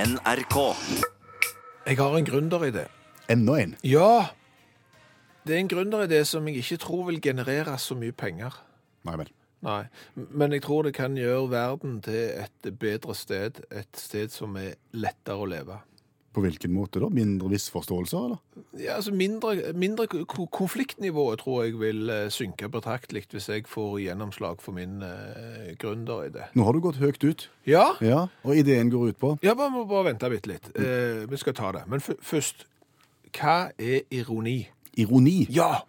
NRK. Jeg har en gründeridé. Enda en. Ja, det er en gründeridé som jeg ikke tror vil generere så mye penger. Nei vel. Nei, m- men jeg tror det kan gjøre verden til et bedre sted, et sted som er lettere å leve. På hvilken måte da? Mindre misforståelser, eller? Ja, altså mindre, mindre ko- konfliktnivået tror jeg vil eh, synke betraktelig hvis jeg får gjennomslag for min eh, gründeridé. Nå har du gått høyt ut, Ja, ja, og ideen går ut på ja, bare må bare vente bitte litt. Eh, vi skal ta det. Men f først, hva er ironi? ironi. Ja!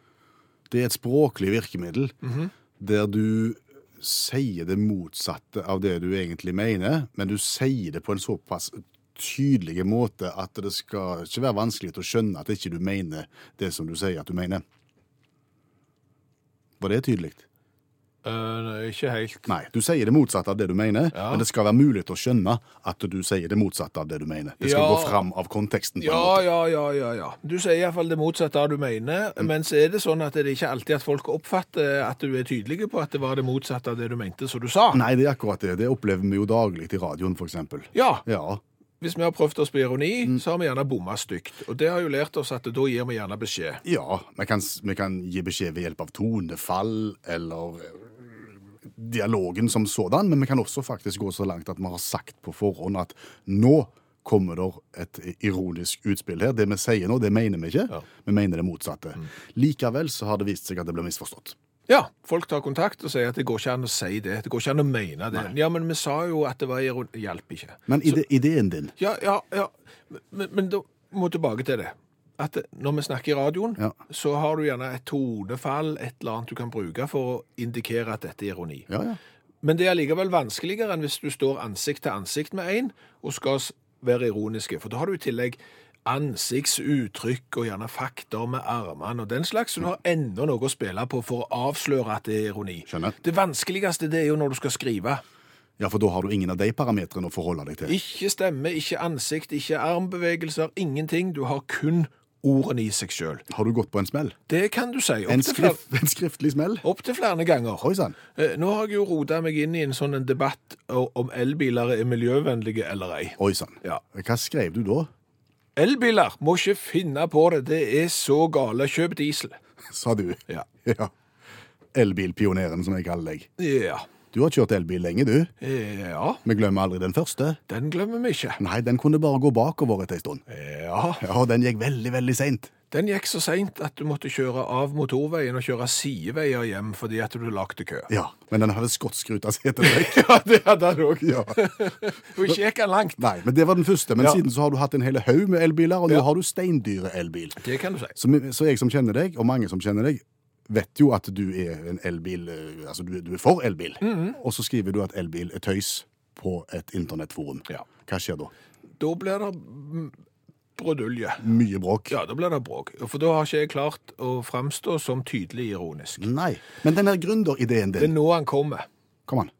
Det er et språklig virkemiddel der du sier det motsatte av det du egentlig mener, men du sier det på en såpass tydelig måte at det skal ikke være vanskelig å skjønne at ikke du mener det som du sier at du mener. Var det tydelig? Eh, nei, ikke helt. Nei, du sier det motsatte av det du mener, Ja. men det skal være mulig å skjønne at du sier det motsatte av det du mener. Det skal Ja. gå fram av konteksten. på en Ja, måte. ja, ja, ja, ja. Du sier iallfall det motsatte av det du mener, Mm. men så er det sånn at det er ikke alltid at folk oppfatter at du er tydelig på at det var det motsatte av det du mente, som du sa. Nei, det er akkurat det. Det opplever vi jo daglig i radioen, for eksempel. Ja, Ja, hvis vi har prøvd oss på ironi, Mm. så har vi gjerne bomma stygt. Og det har jo lært oss at da gir vi gjerne beskjed. ja vi, kan, vi kan gi beskjed ved hjelp av tonefall eller eh, dialogen som sådan, men vi kan også faktisk gå så langt at vi har sagt på forhånd at nå kommer det et ironisk utspill her. Det vi sier nå, det mener vi ikke. Ja. Mm. Vi mener det motsatte. Likevel så har det vist seg at det blir misforstått. Ja, folk tar kontakt og sier at det går ikke an å si det, det går ikke an å mene det. Ja, men vi sa jo at det var ironi. Hjelp ikke. Men ide, ideen din Ja, ja, ja. Men, men da må tilbake til det. At når vi snakker i radioen, Ja. så har du gjerne et tonefall, et eller annet du kan bruke for å indikere at dette er ironi. Ja, ja. Men det er allikevel vanskeligere enn hvis du står ansikt til ansikt med en, og skal s- være ironiske, for da har du i tillegg ansiktsuttrykk og gjerne fakter med armene og den slags, så du har enda noe å spille på for å avsløre at det er ironi. Skjønner. Det vanskeligste det er jo når du skal skrive. ja, for da har du ingen av de parametrene å forholde deg til. Ikke stemme, ikke ansikt, ikke armbevegelser, ingenting. Du har kun ordene i seg sjøl. Har du gått på en smell? Det kan du si. En, Opptil flere, skrift, en skriftlig smell? opp til flere ganger. Oi sann. Eh, Nå har jeg jo rota meg inn i en sånn en debatt o- om elbiler er miljøvennlige eller ei. Oi sann. Ja. Hva skrev du da? Elbiler må ikke finne på det, det er så gale. Kjøp diesel. Sa du. Ja. Ja. Elbilpioneren, som jeg kaller deg. Ja. Du har kjørt elbil lenge, du. ja. Vi glemmer aldri den første. Den glemmer vi ikke. Nei, den kunne bare gå bakover etter ei stund. Ja. Ja, og den gikk veldig, veldig seint. Den gikk så seint at du måtte kjøre av motorveien og kjøre sideveier hjem fordi at du lagde kø. Ja, men den hadde skottskruta setebrekk. Ja, det hadde han òg. Ja. Og ikke gikk han langt. Nei, men det var den første. Men Ja. siden så har du hatt en hel haug med elbiler, og nå Ja. har du steindyre elbil. Det kan du si. Så, vi- så jeg som kjenner deg, og mange som kjenner deg, vet jo at du er en elbil eh, Altså, du, du er for elbil. Mhm. Og så skriver du at elbil er tøys på et internettforum. Ja. Hva skjer da? Da blir det mm, brudulje. Mye bråk? Ja, da blir det bråk. For da har ikke jeg klart å framstå som tydelig ironisk. Nei. Men den der gründerideen Det er din, nå han kommer. kom an.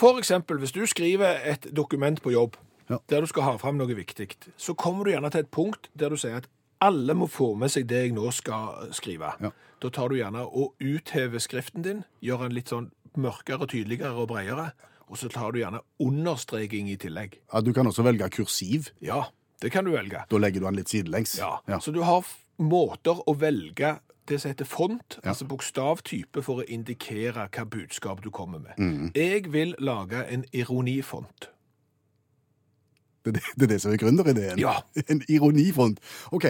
For eksempel, hvis du skriver et dokument på jobb, Ja. der du skal ha fram noe viktig, så kommer du gjerne til et punkt der du sier at alle må få med seg det jeg nå skal skrive. Ja. Da tar du gjerne og uthever skriften din, gjør den litt sånn mørkere, tydeligere og bredere, og så tar du gjerne understreking i tillegg. Ja, du kan også velge kursiv. Ja, det kan du velge. Da legger du den litt sidelengs. Ja. Så du har f- måter å velge det som heter font, altså bokstavtype, for å indikere hva budskap du kommer med. Jeg vil lage en ironifont. Det, det, det er det som er gründerideen. Ja. En ironifront. OK.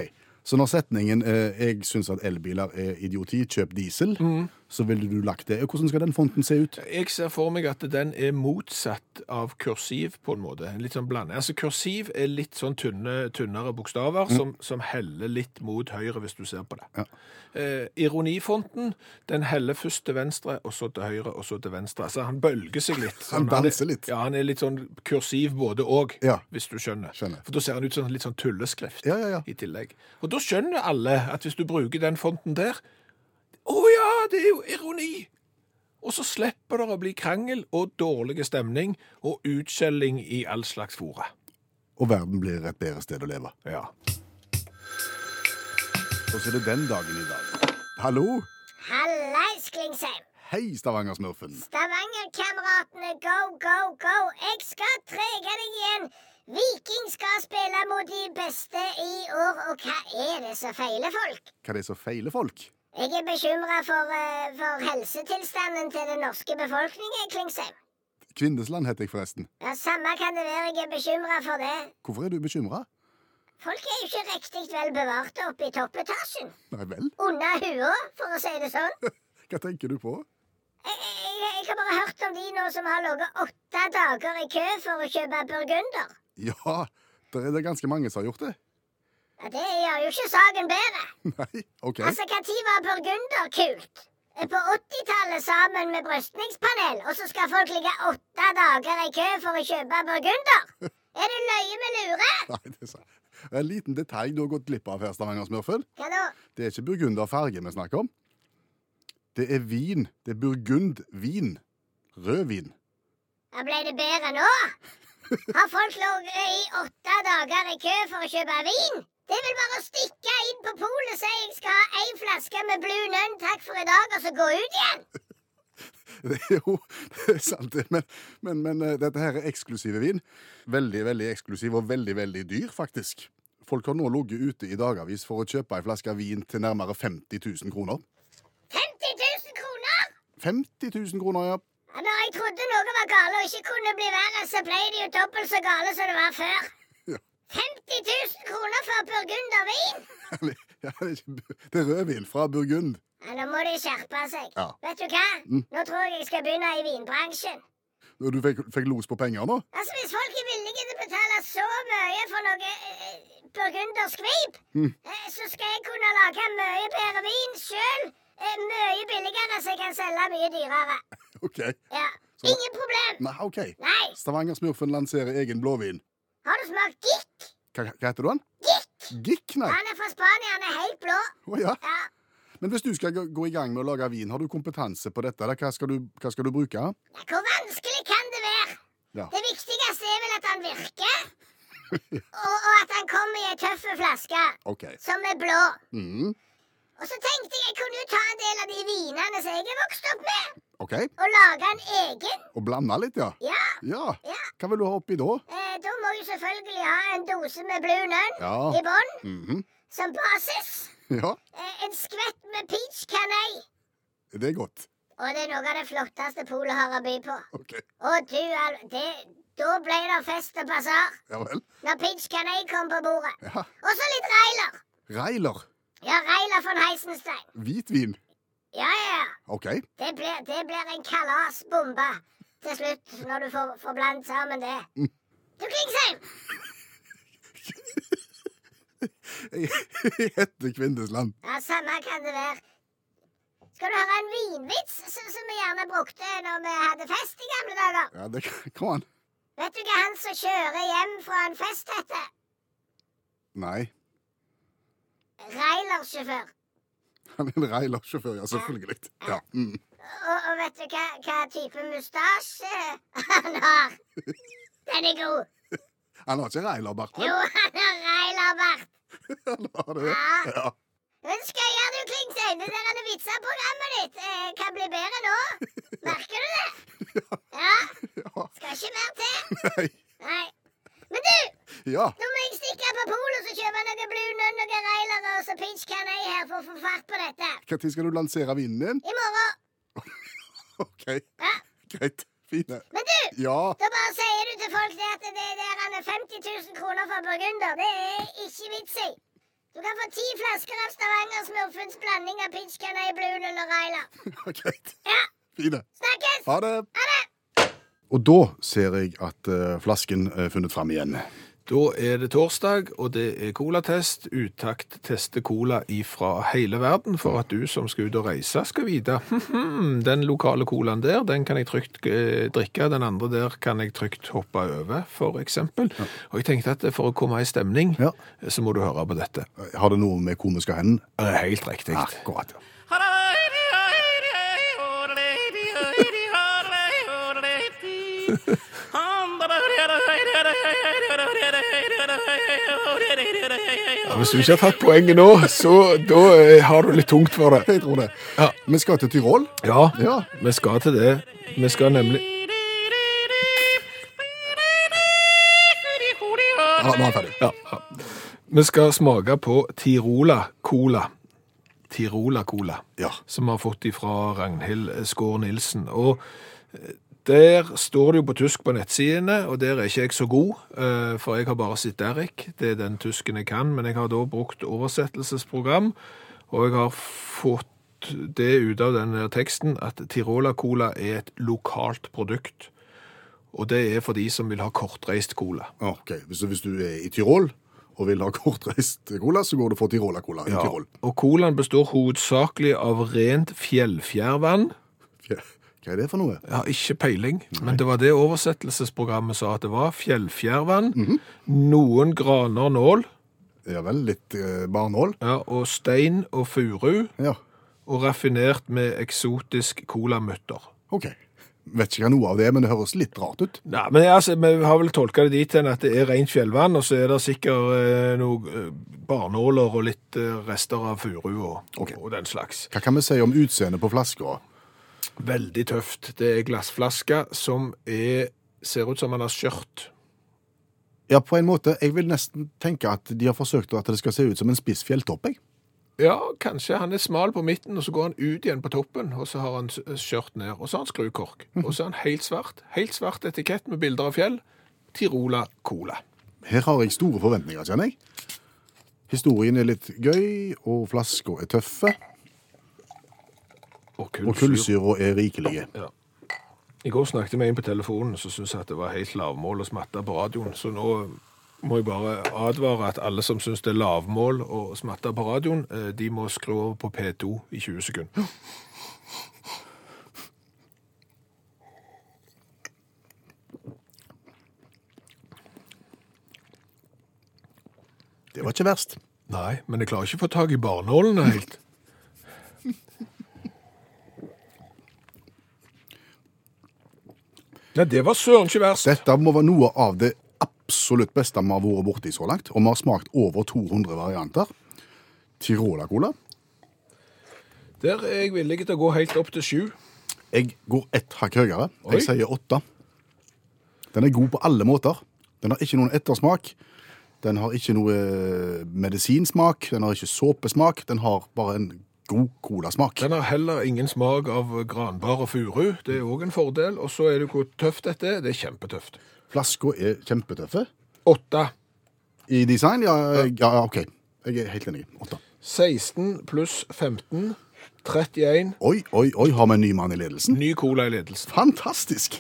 Så når setningen eh, 'Jeg syns at elbiler er idioti, kjøp diesel', Mhm. så ville du lagt det Hvordan skal den fonten se ut? Jeg ser for meg at den er motsatt av kursiv, på en måte. Litt sånn blanding. Altså, kursiv er litt sånn tynne, tynnere bokstaver som, som heller litt mot høyre, hvis du ser på det. Mm. Ja. Eh, ironifonten, den heller først til venstre, og så til høyre, og så til venstre. Altså, han bølger seg litt. Sånn, Han er- danser litt. Ja, han er litt sånn kursiv både og, Ja. hvis du skjønner. Skjønner. For da ser han ut som en litt sånn tulleskrift Ja, ja, ja. i tillegg. Og da skjønner alle at hvis du bruker den fonten der, å ja, det er jo ironi! Og så slipper det å bli krangel og dårlig stemning og utskjelling i all slags fora. Og verden blir et bedre sted å leve. Ja. Og så er det den dagen i dag. Hallo? Hallais, Klingsheim! Hei, Stavanger-smurfen. Stavanger-kameratene, go, go, go! Jeg skal trege deg igjen! Viking skal spille mot de beste i år, og hva er det som feiler folk? Hva er det som feiler folk? Jeg er bekymra for, eh, for helsetilstanden til den norske befolkningen, Klingsheim. Kvindesland heter jeg forresten. Ja, Samme kan det være, jeg er bekymra for det. Hvorfor er du bekymra? Folk er jo ikke riktig vel bevart oppe i toppetasjen. Nei vel, Under hua, for å si det sånn. hva tenker du på? Jeg, jeg, jeg jeg har bare hørt om de nå som har ligget åtte dager i kø for å kjøpe burgunder. Ja, det er det ganske mange som har gjort det. Ja, det gjør jo ikke saken bedre. Nei, OK. Altså, Når var burgunder kult? Eh, På 80-tallet sammen med brystningspanel, og så skal folk ligge åtte dager i kø for å kjøpe burgunder? Er det løye med lure? Nei, det er sant. En liten detalj du har gått glipp av her, Stavanger-smurfen. Hva da? Det er ikke burgunderfarge vi snakker om. Det er vin. Det er burgundvin. Rødvin. Ja, Ble det bedre nå? Har folk ligget i åtte dager i kø for å kjøpe vin? Det er vel bare å stikke inn på polet og si jeg skal ha ei flaske med Blue Nun, takk for i dag, og så gå ut igjen? Det er jo det er sant, det. Men, men, men eh, dette her er eksklusive vin. Veldig, veldig eksklusiv og veldig, veldig dyr, faktisk. Folk har nå ligget ute i dagavis for å kjøpe ei flaske vin til nærmere 50 000 kroner. 50 000 kroner! 50 000 kroner, ja. Ja, Når jeg trodde noe var gale og ikke kunne bli verre, så ble det jo dobbelt så gale som det var før. Ja. 50 000 kroner for burgundervin! Eller, ja, det er ikke bu- det er rødvin fra Burgund. Ja, nå må de skjerpe seg. Ja. Mm. Vet du hva? Nå tror jeg jeg skal begynne i vinbransjen. Og Du fikk, fikk los på penger nå? Altså, Hvis folk er villige til å betale så mye for noe eh, burgundersk vip, Mm. eh, så skal jeg kunne lage mye bedre vin sjøl. Eh, mye billigere, så jeg kan selge mye dyrere. OK. Ja, Så- Ingen problem. Nei, OK. Nei. Stavanger-smurfen lanserer egen blåvin. Har du smakt gikk? Hva, hva heter du han? Gikk! Gikk, nei? Han er fra Spania, han er helt blå. Å ja. Ja. Men hvis du skal gå gå i gang med å lage vin, har du kompetanse på dette? eller Hva skal du, hva skal du bruke? ja, Hvor vanskelig kan det være? Ja. Det viktigste er vel at han virker, og, og at han kommer i ei tøff flaske OK. som er blå. Mm, Og så tenkte jeg jeg kunne jo ta en del av de vinene som jeg er vokst opp med, OK. og lage en egen. Og blande litt, ja. Ja, Ja. ja. Hva vil du ha oppi da? Eh, da må jeg selvfølgelig ha en dose med Blue Nun Ja. i bånn Mhm. som basis. Ja, Eh, en skvett med peach canay. det er godt. Og det er noe av det flotteste polet har å by på. OK. Og du, al- det, da ble det fest og basar Ja vel. når peach canay kom på bordet. Ja. Og så litt Reiler. Reiler. Ja, Reiler von Heisenstein. Hvitvin. Ja, ja, ja. OK. Det blir, det blir en kalasbombe til slutt, når du får, får blandet sammen det. Du, Klingsheim, Jeg heter Kvindesland. ja, samme kan det være. Skal du høre en vinvits som, som vi gjerne brukte når vi hadde fest i gamle dager? Ja, det Kom an. Vet du hva han som kjører hjem fra en fest heter? Nei. Reilersjåfør. Han er en Reiler-sjåfør, ja. Selvfølgelig. Ja. Mm. Og, og vet du hva, hva type mustasje han har? Den er god. Han har ikke Reiler-bart, Jo, vel? han har reilerbart. Han har det. Ja. Ønsker jeg du, Klingsheim, det der er vitser-programmet ditt eh, kan bli bedre nå. Merker du det? Ja. Ja. Skal ikke mer til. Nei. Nei. Men du, Ja. nå må jeg stikke på polet og så kjøpe noe Blue Nun, noen Railere og så Peach Canay her for å få fart på dette. Når skal du lansere vinen din? I morgen. OK, Ja. greit. Fine. Men du, Ja, da bare sier du til folk det at det der han er 50 000 kroner for burgunder, det er ikke vits i. Du kan få ti flasker av Stavanger-smurfens blanding av Peach Canay, Blue Nun og Railer. greit. Ja, Fine. snakkes! Ha det. Ha det! Og da ser jeg at eh, flasken er funnet fram igjen. Da er det torsdag, og det er colatest. Utakt tester cola ifra hele verden for at du som skal ut og reise, skal vite «Hm, den lokale colaen der, den kan jeg trygt eh, drikke, den andre der kan jeg trygt hoppe over, for eksempel. Og jeg tenkte at eh, for å komme i stemning, Ja. så må du høre på dette. Eh, Har det noe med komiske hender? Det er helt riktig. Ah, Akkurat. ja. Hvis du ikke har tatt poenget nå, så da eh, har du litt tungt for det. Jeg tror det. Ja. Vi skal til Tyrol. Ja, Ja. vi skal til det. Oh. Vi skal nemlig Hore, Nå, nå er han ferdig. Ja. ja. Vi skal smake på Tirola Cola. Tirola Cola, Ja. som vi har fått ifra Ragnhild Skår Nilsen. Og eh, der står det jo på tysk på nettsidene, og der er ikke jeg så god, eh, for jeg har bare sett Derek. Det er den tysken jeg kan, men jeg har da brukt oversettelsesprogram, og jeg har fått det ut av den her teksten at Tirola Cola er et lokalt produkt. Og det er for de som vil ha kortreist cola. Ok, hvis, hvis du er i Tyrol og vil ha kortreist cola, så går du for Tirola-cola i Tyrol. Og colaen består hovedsakelig av rent fjellfjærvann. Fje- Hva er det for noe? Jeg har ikke peiling, men det var det oversettelsesprogrammet sa at det var. Fjellfjærvann, noen graner nål, Ja vel, litt eh, barnål? ja, og stein og furu, Ja, og raffinert med eksotisk colamøtter. ok. Vet ikke hva noe av det er, men det høres litt rart ut. Nei, men altså, Vi har vel tolka det dit hen at det er rent fjellvann, og så er det sikkert eh, noen eh, barnåler og litt eh, rester av furu og, Ok. og den slags. Hva kan vi si om utseendet på flaska? Veldig tøft. Det er glassflaske som er, ser ut som han har skjørt. Ja, på en måte. Jeg vil nesten tenke at de har forsøkt at det skal se ut som en spiss fjelltopp. Jeg. Ja, kanskje han er smal på midten, og så går han ut igjen på toppen, og så har han s- skjørt ned, og så har han skrukork. Og så er han helt svart. Helt svart etikett med bilder av fjell. Tirola Cola. Her har jeg store forventninger, kjenner jeg. Historien er litt gøy, og flaska er tøffe, Og og kullsyre. kullsyra er rikelige. Ja. I går snakket vi inn på telefonen, så syntes jeg at det var helt lavmål å smatte på radioen. Så nå må jeg bare advare at alle som syns det er lavmål å smatte på radioen, eh, de må skru over på P2 i 20 sekunder. Det var ikke verst. Nei, men jeg klarer ikke å få tak i barnålene helt. Nei, det var søren ikke verst. Dette må være noe av det absolutt beste vi har vært borti så langt, og vi har smakt over 200 varianter. Tirola-cola. Der er jeg villig til å gå helt opp til sju. Jeg går ett hakk høyere. Oi. Jeg sier åtte. Den er god på alle måter. Den har ikke noen ettersmak. Den har ikke noe eh, medisinsmak. Den har ikke såpesmak. Den har bare en god colasmak. Den har heller ingen smak av granbar og furu. Det er òg en fordel. Og så er det hvor tøft dette er. Det er kjempetøft. Flaska er kjempetøffe. Åtte. I design, ja, ja, ja OK. Jeg er helt enig. Åtte. 16 pluss 15. 31. Oi, oi, oi, har vi en ny mann i ledelsen? Ny cola i ledelsen. Fantastisk!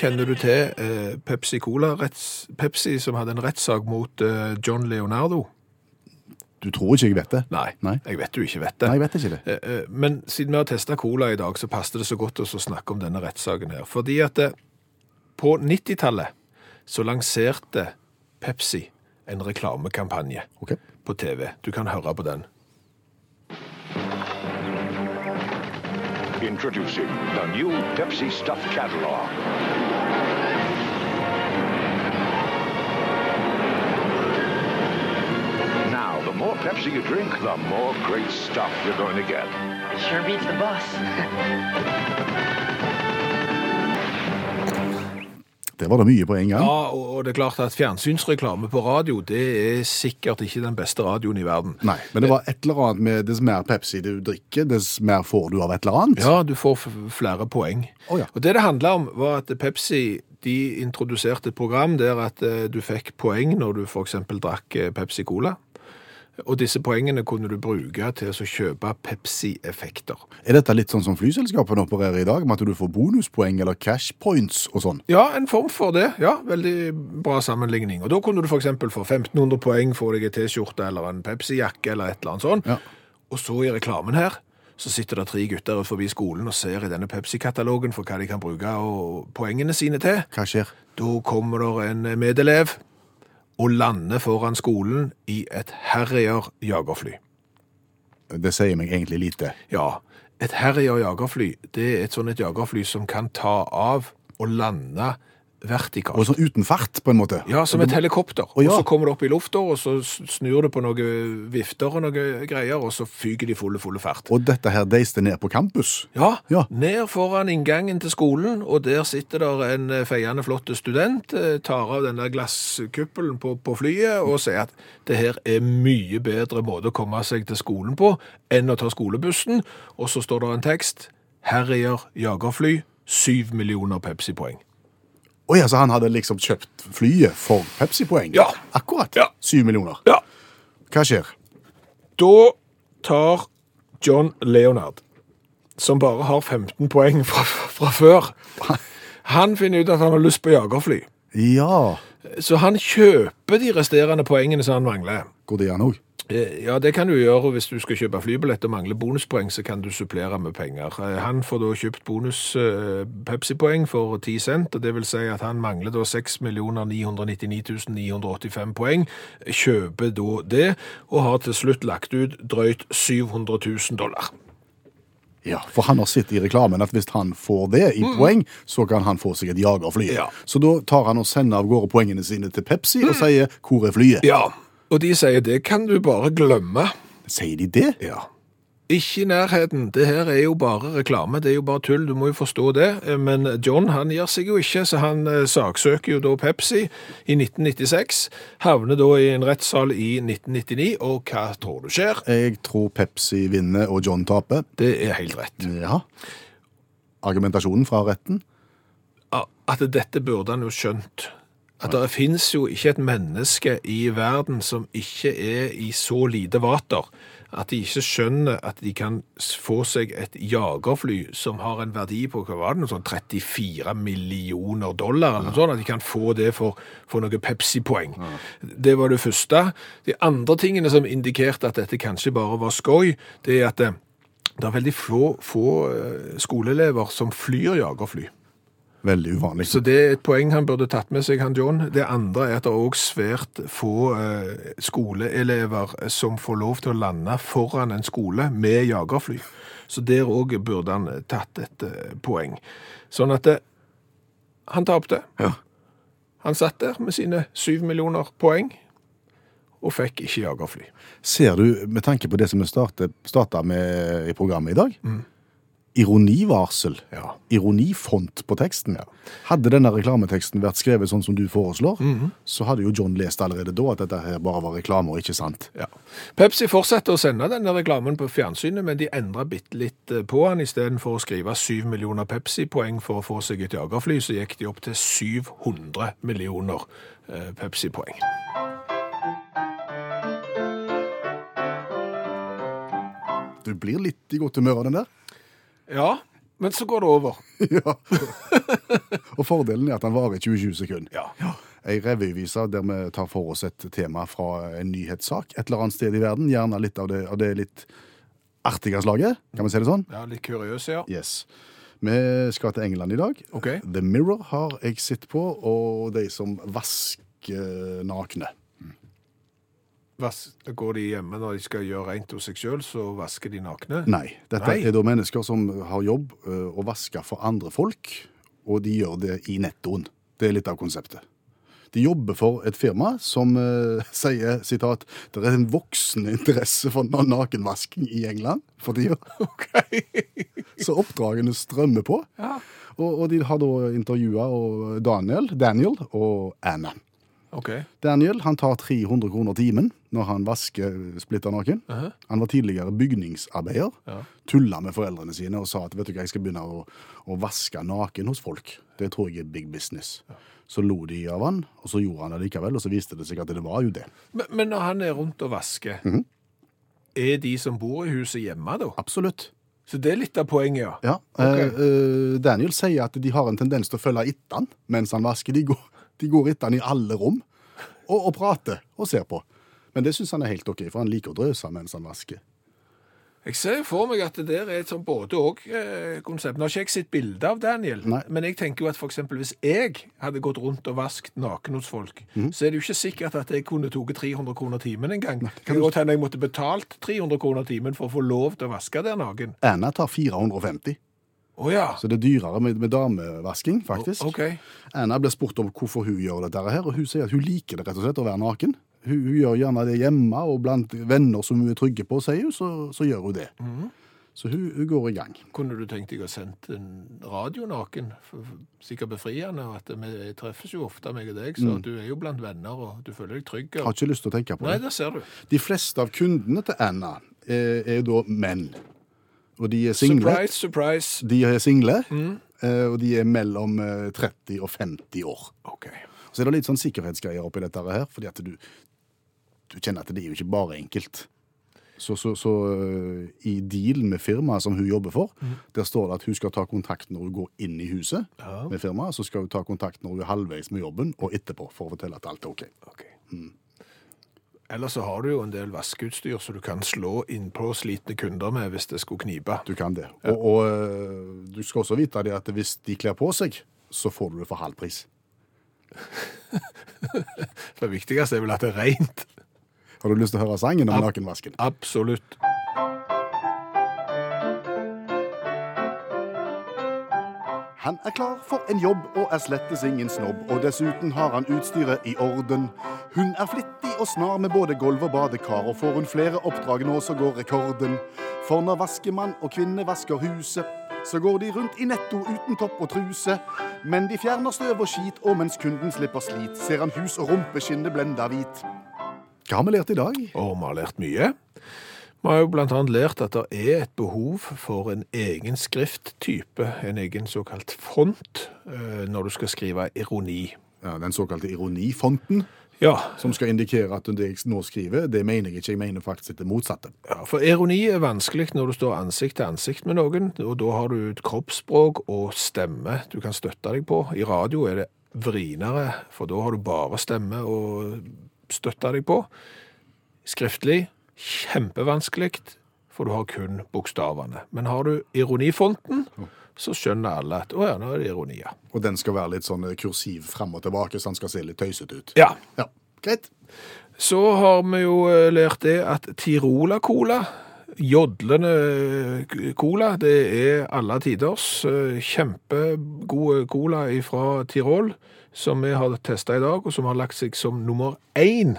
Kjenner du til eh, Pepsi Cola? Retts, Pepsi som hadde en rettssak mot eh, John Leonardo? Du tror ikke jeg vet det? Nei, Nei. jeg vet du ikke vet det. Nei, jeg vet ikke det. Eh, eh, Men siden vi har testa cola i dag, så passer det så godt oss å snakke om denne rettssaken her. Fordi at eh, på 90-tallet så lanserte Pepsi en reklamekampanje Ok. på TV. Du kan høre på den. Introducing the new Pepsi Stuff Catalog. Now, the more Pepsi you drink, the more great stuff you're going to get. Sure beats the bus. Der var det mye på en gang. Ja, og og det er klart at fjernsynsreklame på radio, det er sikkert ikke den beste radioen i verden. Nei, men det var et eller annet med dess mer Pepsi du drikker, dess mer får du av et eller annet. Ja, du får f- flere poeng. Å, ja. Og det det handla om, var at Pepsi de introduserte et program der at eh, du fikk poeng når du f.eks. drakk eh, Pepsi Cola. Og disse poengene kunne du bruke til å kjøpe Pepsi-effekter. Er dette litt sånn som flyselskapene opererer i dag, med at du får bonuspoeng eller cash points og sånn? Ja, en form for det. Ja, Veldig bra sammenligning. Og Da kunne du f.eks. få 1500 poeng, få deg en T-skjorte eller en Pepsi-jakke eller et eller annet sånt. Ja. Og så i reklamen her så sitter det tre gutter ut forbi skolen og ser i denne Pepsi-katalogen for hva de kan bruke og poengene sine til. Hva skjer? Da kommer der en medelev og lander foran skolen i et Harrier-jagerfly. Det sier meg egentlig lite. Ja, et Harrier-jagerfly, det er et sånn et jagerfly som kan ta av og lande vertikalt. Og sånn uten fart, på en måte. Ja, som et helikopter. Å, ja. Og så kommer det opp i lufta, og så s- snur det på noen vifter og noen greier, og så fyker de fulle, fulle fart. Og dette her deiste ned på campus. Ja, Ja. ned foran inngangen til skolen, og der sitter der en eh, feiende flott student, eh, tar av den der glasskuppelen på, på flyet og sier at det her er mye bedre måte å komme seg til skolen på enn å ta skolebussen. Og så står det en tekst. Herjer jagerfly, syv millioner Pepsi-poeng. Å ja, så han hadde liksom kjøpt flyet for Pepsi-poeng? Ja. Akkurat. Ja. Syv millioner. Ja. Hva skjer? Da tar John Leonard, som bare har 15 poeng fra, fra før Han finner ut at han har lyst på jagerfly. Ja. Så han kjøper de resterende poengene som han mangler. Går det an òg? Eh, Ja, det kan du gjøre hvis du skal kjøpe flybillett og mangler bonuspoeng, så kan du supplere med penger. Eh, Han får da kjøpt bonus eh, Pepsi-poeng for 10 cent, og det vil si at han mangler da 6 999 985 poeng, kjøper da det, og har til slutt lagt ut drøyt 700 000 dollar. Ja, for han har sett i reklamen at hvis han får det i poeng, så kan han få seg et jagerfly. Mm. Ja. Mm. Så da tar han og sender av gårde poengene sine til Pepsi og sier 'Hvor er flyet?' Ja, og de sier det kan du bare glemme. Sier de det? Ja. Ikke i nærheten. Det her er jo bare reklame, det er jo bare tull, du må jo forstå det. Eh, Men John han gir seg jo ikke, så han eh, saksøker jo da Pepsi i 1996. Havner da i en rettssal i 1999, og hva tror du skjer? Jeg tror Pepsi vinner og John taper. Det er helt rett. Ja. Argumentasjonen fra retten? Ja, At dette burde han jo skjønt. At det finnes jo ikke et menneske i verden som ikke er i så lite vater at de ikke skjønner at de kan s- få seg et jagerfly som har en verdi på hva var det, noe sånn 34 millioner dollar, eller noe sånt, at de kan få det for, for noen Pepsi-poeng. Det var det første. De andre tingene som indikerte at dette kanskje bare var skoj, det er at eh, det er veldig få, få eh, skoleelever som flyr jagerfly. Veldig uvanlig. Så det er et poeng han burde tatt med seg, han John. Det andre er at det er også svært få eh, skoleelever som får lov til å lande foran en skole med jagerfly. Så der òg burde han tatt et eh, poeng. Sånn at det, han tapte. Ja. Han satt der med sine syv millioner poeng og fikk ikke jagerfly. Ser du, med tanke på det som vi startet- starta med i programmet i dag Ironivarsel. Ja. Ironifont på teksten. Hadde denne reklameteksten vært skrevet sånn som du foreslår, så hadde jo John lest allerede da at dette her bare var reklame og ikke sant. Ja. Pepsi fortsetter å sende denne reklamen på fjernsynet, men de endrer bitte litt eh, på han. Istedenfor å skrive 7 millioner Pepsi-poeng for å få seg et jagerfly, så gikk de opp til 700 millioner eh, Pepsi-poeng. Du blir litt i godt humør av den der. Ja, men så går det over. ja. og fordelen er at den varer 20-20 sekunder. Ja. Ei revyvise der vi tar for oss et tema fra en nyhetssak et eller annet sted i verden. Gjerne litt av det, av det litt artige slaget, kan vi si det sånn? Ja, Litt kuriøs, ja. Yes. Vi skal til England i dag. Ok. The Mirror har jeg sett på, og de som vasker nakne. Vas går de hjemme når de skal gjøre rent hos seg sjøl, så vasker de nakne? Nei. Dette Nei. er da mennesker som har jobb ø, å vaske for andre folk, og de gjør det i nettoen. Det er litt av konseptet. De jobber for et firma som ø, sier sitat, det er en voksende interesse for na- nakenvasking i England for tida. Ok. Så oppdragene strømmer på. Ja. Og, og de har da intervjua Daniel, Daniel og Anna. Ok. Daniel han tar 300 kroner timen når han vasker splitter naken. Han var tidligere bygningsarbeider. Ja. Tulla med foreldrene sine og sa at vet du hva, jeg skal begynne å, å vaske naken hos folk. Det tror jeg er big business. Så lo de av han, og så gjorde han det likevel, og så viste det seg at det var jo det. Men, men når han er rundt og vasker, er de som bor i huset hjemme, da? Absolutt. Så det er litt av poenget, ja. Ja. Eh, eh, Daniel sier at de har en tendens til å følge etter han mens han vasker. De går, de går etter han i alle rom og, og prater og ser på. Men det syns han er helt OK, for han liker å drøse mens han vasker. Jeg ser for meg at det der er et sånn både-og-konsept. Nå har ikke jeg sett bilde av Daniel, Nei. men jeg tenker jo at for eksempel hvis jeg hadde gått rundt og vaskt naken hos folk, Mhm. så er det jo ikke sikkert at jeg kunne tatt 300 kroner timen engang. Det kan godt hende jeg måtte betalt 300 kroner timen for å få lov til å vaske der naken. Anna tar 450. Å ja. Så det er dyrere med, med damevasking, faktisk. OK. Anna blir spurt om hvorfor hun gjør dette her, og hun sier at hun liker det rett og slett å være naken. Hun, hun gjør gjerne det hjemme, og blant venner som hun er trygge på, sier hun, så, så gjør hun det. Mhm. Så hun, hun går i gang. Kunne du tenkt deg å sende en radio naken? For- for- Sikkert befriende. og at Vi treffes jo ofte, meg og deg, så du er jo blant venner, og du føler deg trygg. Mm. Har Og... ikke lyst til å tenke på Nei, det. der ser du. De fleste av kundene til Anna er, er jo da menn. Og de er single. Surprise, Mhm. surprise. De er single, eh, og de er mellom eh, 30 og 50 år. OK. Så er det litt sånn sikkerhetsgreier oppi dette her, fordi at du, du kjenner at det er jo ikke bare enkelt. Så, så, så eh, i deal med firmaet som hun jobber for, der står det at hun skal ta kontakt når hun går inn i huset med firmaet, så skal hun ta kontakt når hun er halvveis med jobben, og etterpå, for å fortelle at alt er OK. ok. Ellers så har du jo en del vaskeutstyr som du kan slå innpå slitne kunder med hvis det skulle knipe. Du kan det. Og, og eh, du skal også vite det at hvis de kler på seg, så får du det for halv pris. Det viktigste er vel at det er rent. Har du lyst til å høre sangen om nakenvasken? Absolutt. Han er klar for en jobb og er slettes ingen snobb, og dessuten har han utstyret i orden. Hun er flittig og snar med både gulv og badekar, og får hun flere oppdrag nå, så går rekorden. For når vaskemann og kvinne vasker huset, så går de rundt i netto uten topp og truse. Men de fjerner støv og skit, og mens kunden slipper slit, ser han hus og rumpeskinnet blenda hvit. Hva har vi lært i dag? Og vi har lært mye. Vi har jo blant annet lært at det er et behov for en egen skrifttype, en egen såkalt font, eh, når du skal skrive ironi. Ja, Den såkalte ironifonten, Ja, som skal indikere at det jeg nå skriver, det mener jeg ikke. Jeg mener faktisk det motsatte. ja, for ironi er vanskelig når du står ansikt til ansikt med noen, og da har du et kroppsspråk og stemme du kan støtte deg på. I radio er det vrinere, for da har du bare stemme å støtte deg på. Skriftlig, kjempevanskelig, for du har kun bokstavene. Men har du ironifonten, så skjønner alle at å ja, nå er det ironi. ja. Og den skal være litt sånn kursiv fram og tilbake, så den skal se litt tøysete ut. Ja. Ja, Greit. Så har vi jo eh, lært det at Tirola-cola, jodlende eh, cola, det er alle tiders. eh, Kjempegod cola fra Tirol, som vi har testa i dag, og som har lagt seg som nummer én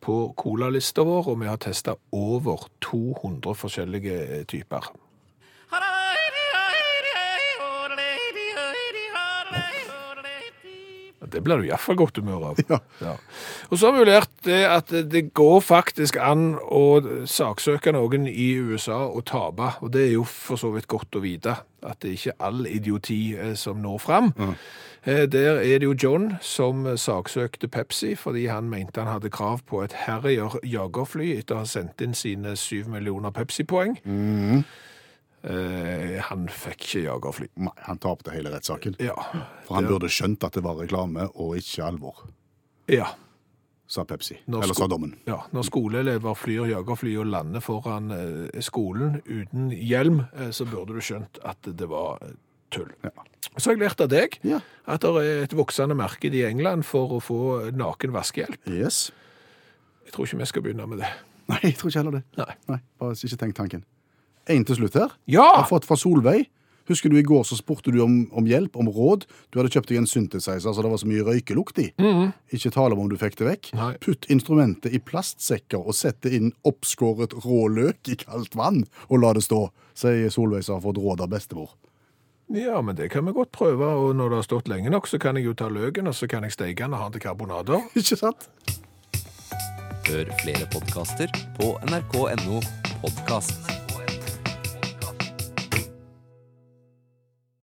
på colalista vår, og vi har testa over 200 forskjellige eh, typer. Det blir du iallfall godt humør av. Ja. Og så har vi jo lært det at det går faktisk an å saksøke noen i USA og tape, og det er jo for så vidt godt å vite at det er ikke all idioti eh, som når fram. Eh, Der er det jo John som eh, saksøkte Pepsi fordi han mente han hadde krav på et Harrier jagerfly etter å ha sendt inn sine syv millioner Pepsi-poeng. Eh, han fikk ikke jagerfly. Nei, han tapte hele rettssaken. Ja. For han burde skjønt at det var reklame og ikke alvor, ja. sa Pepsi. Når Eller sko- sa dommen. Ja, når skoleelever flyr jagerfly og lander foran eh, skolen uten hjelm, eh, så burde du skjønt at det var eh, tull. Så har jeg lært av deg Ja. at det er et voksende marked i England for å få naken vaskehjelp. Yes. Jeg tror ikke vi skal begynne med det. Nei, jeg tror ikke heller det. Nei. Nei, bare ikke tenk tanken. En til slutt her. Jeg Ja! har fått fra Solveig. Husker du i går så spurte du om, om hjelp, om råd. Du hadde kjøpt deg en synthesizer, så det var så mye røykelukt i. Ikke tale om om du fikk det vekk. Nei. Putt instrumentet i plastsekker og sette inn oppskåret rå løk i kaldt vann, og la det stå, sier Solveig som har fått råd av bestemor. Ja, men det kan vi godt prøve, og når det har stått lenge nok, så kan jeg jo ta løken, og så kan jeg steke den og ha den til karbonader. Ikke sant? Hør flere podkaster på nrk.no podkast.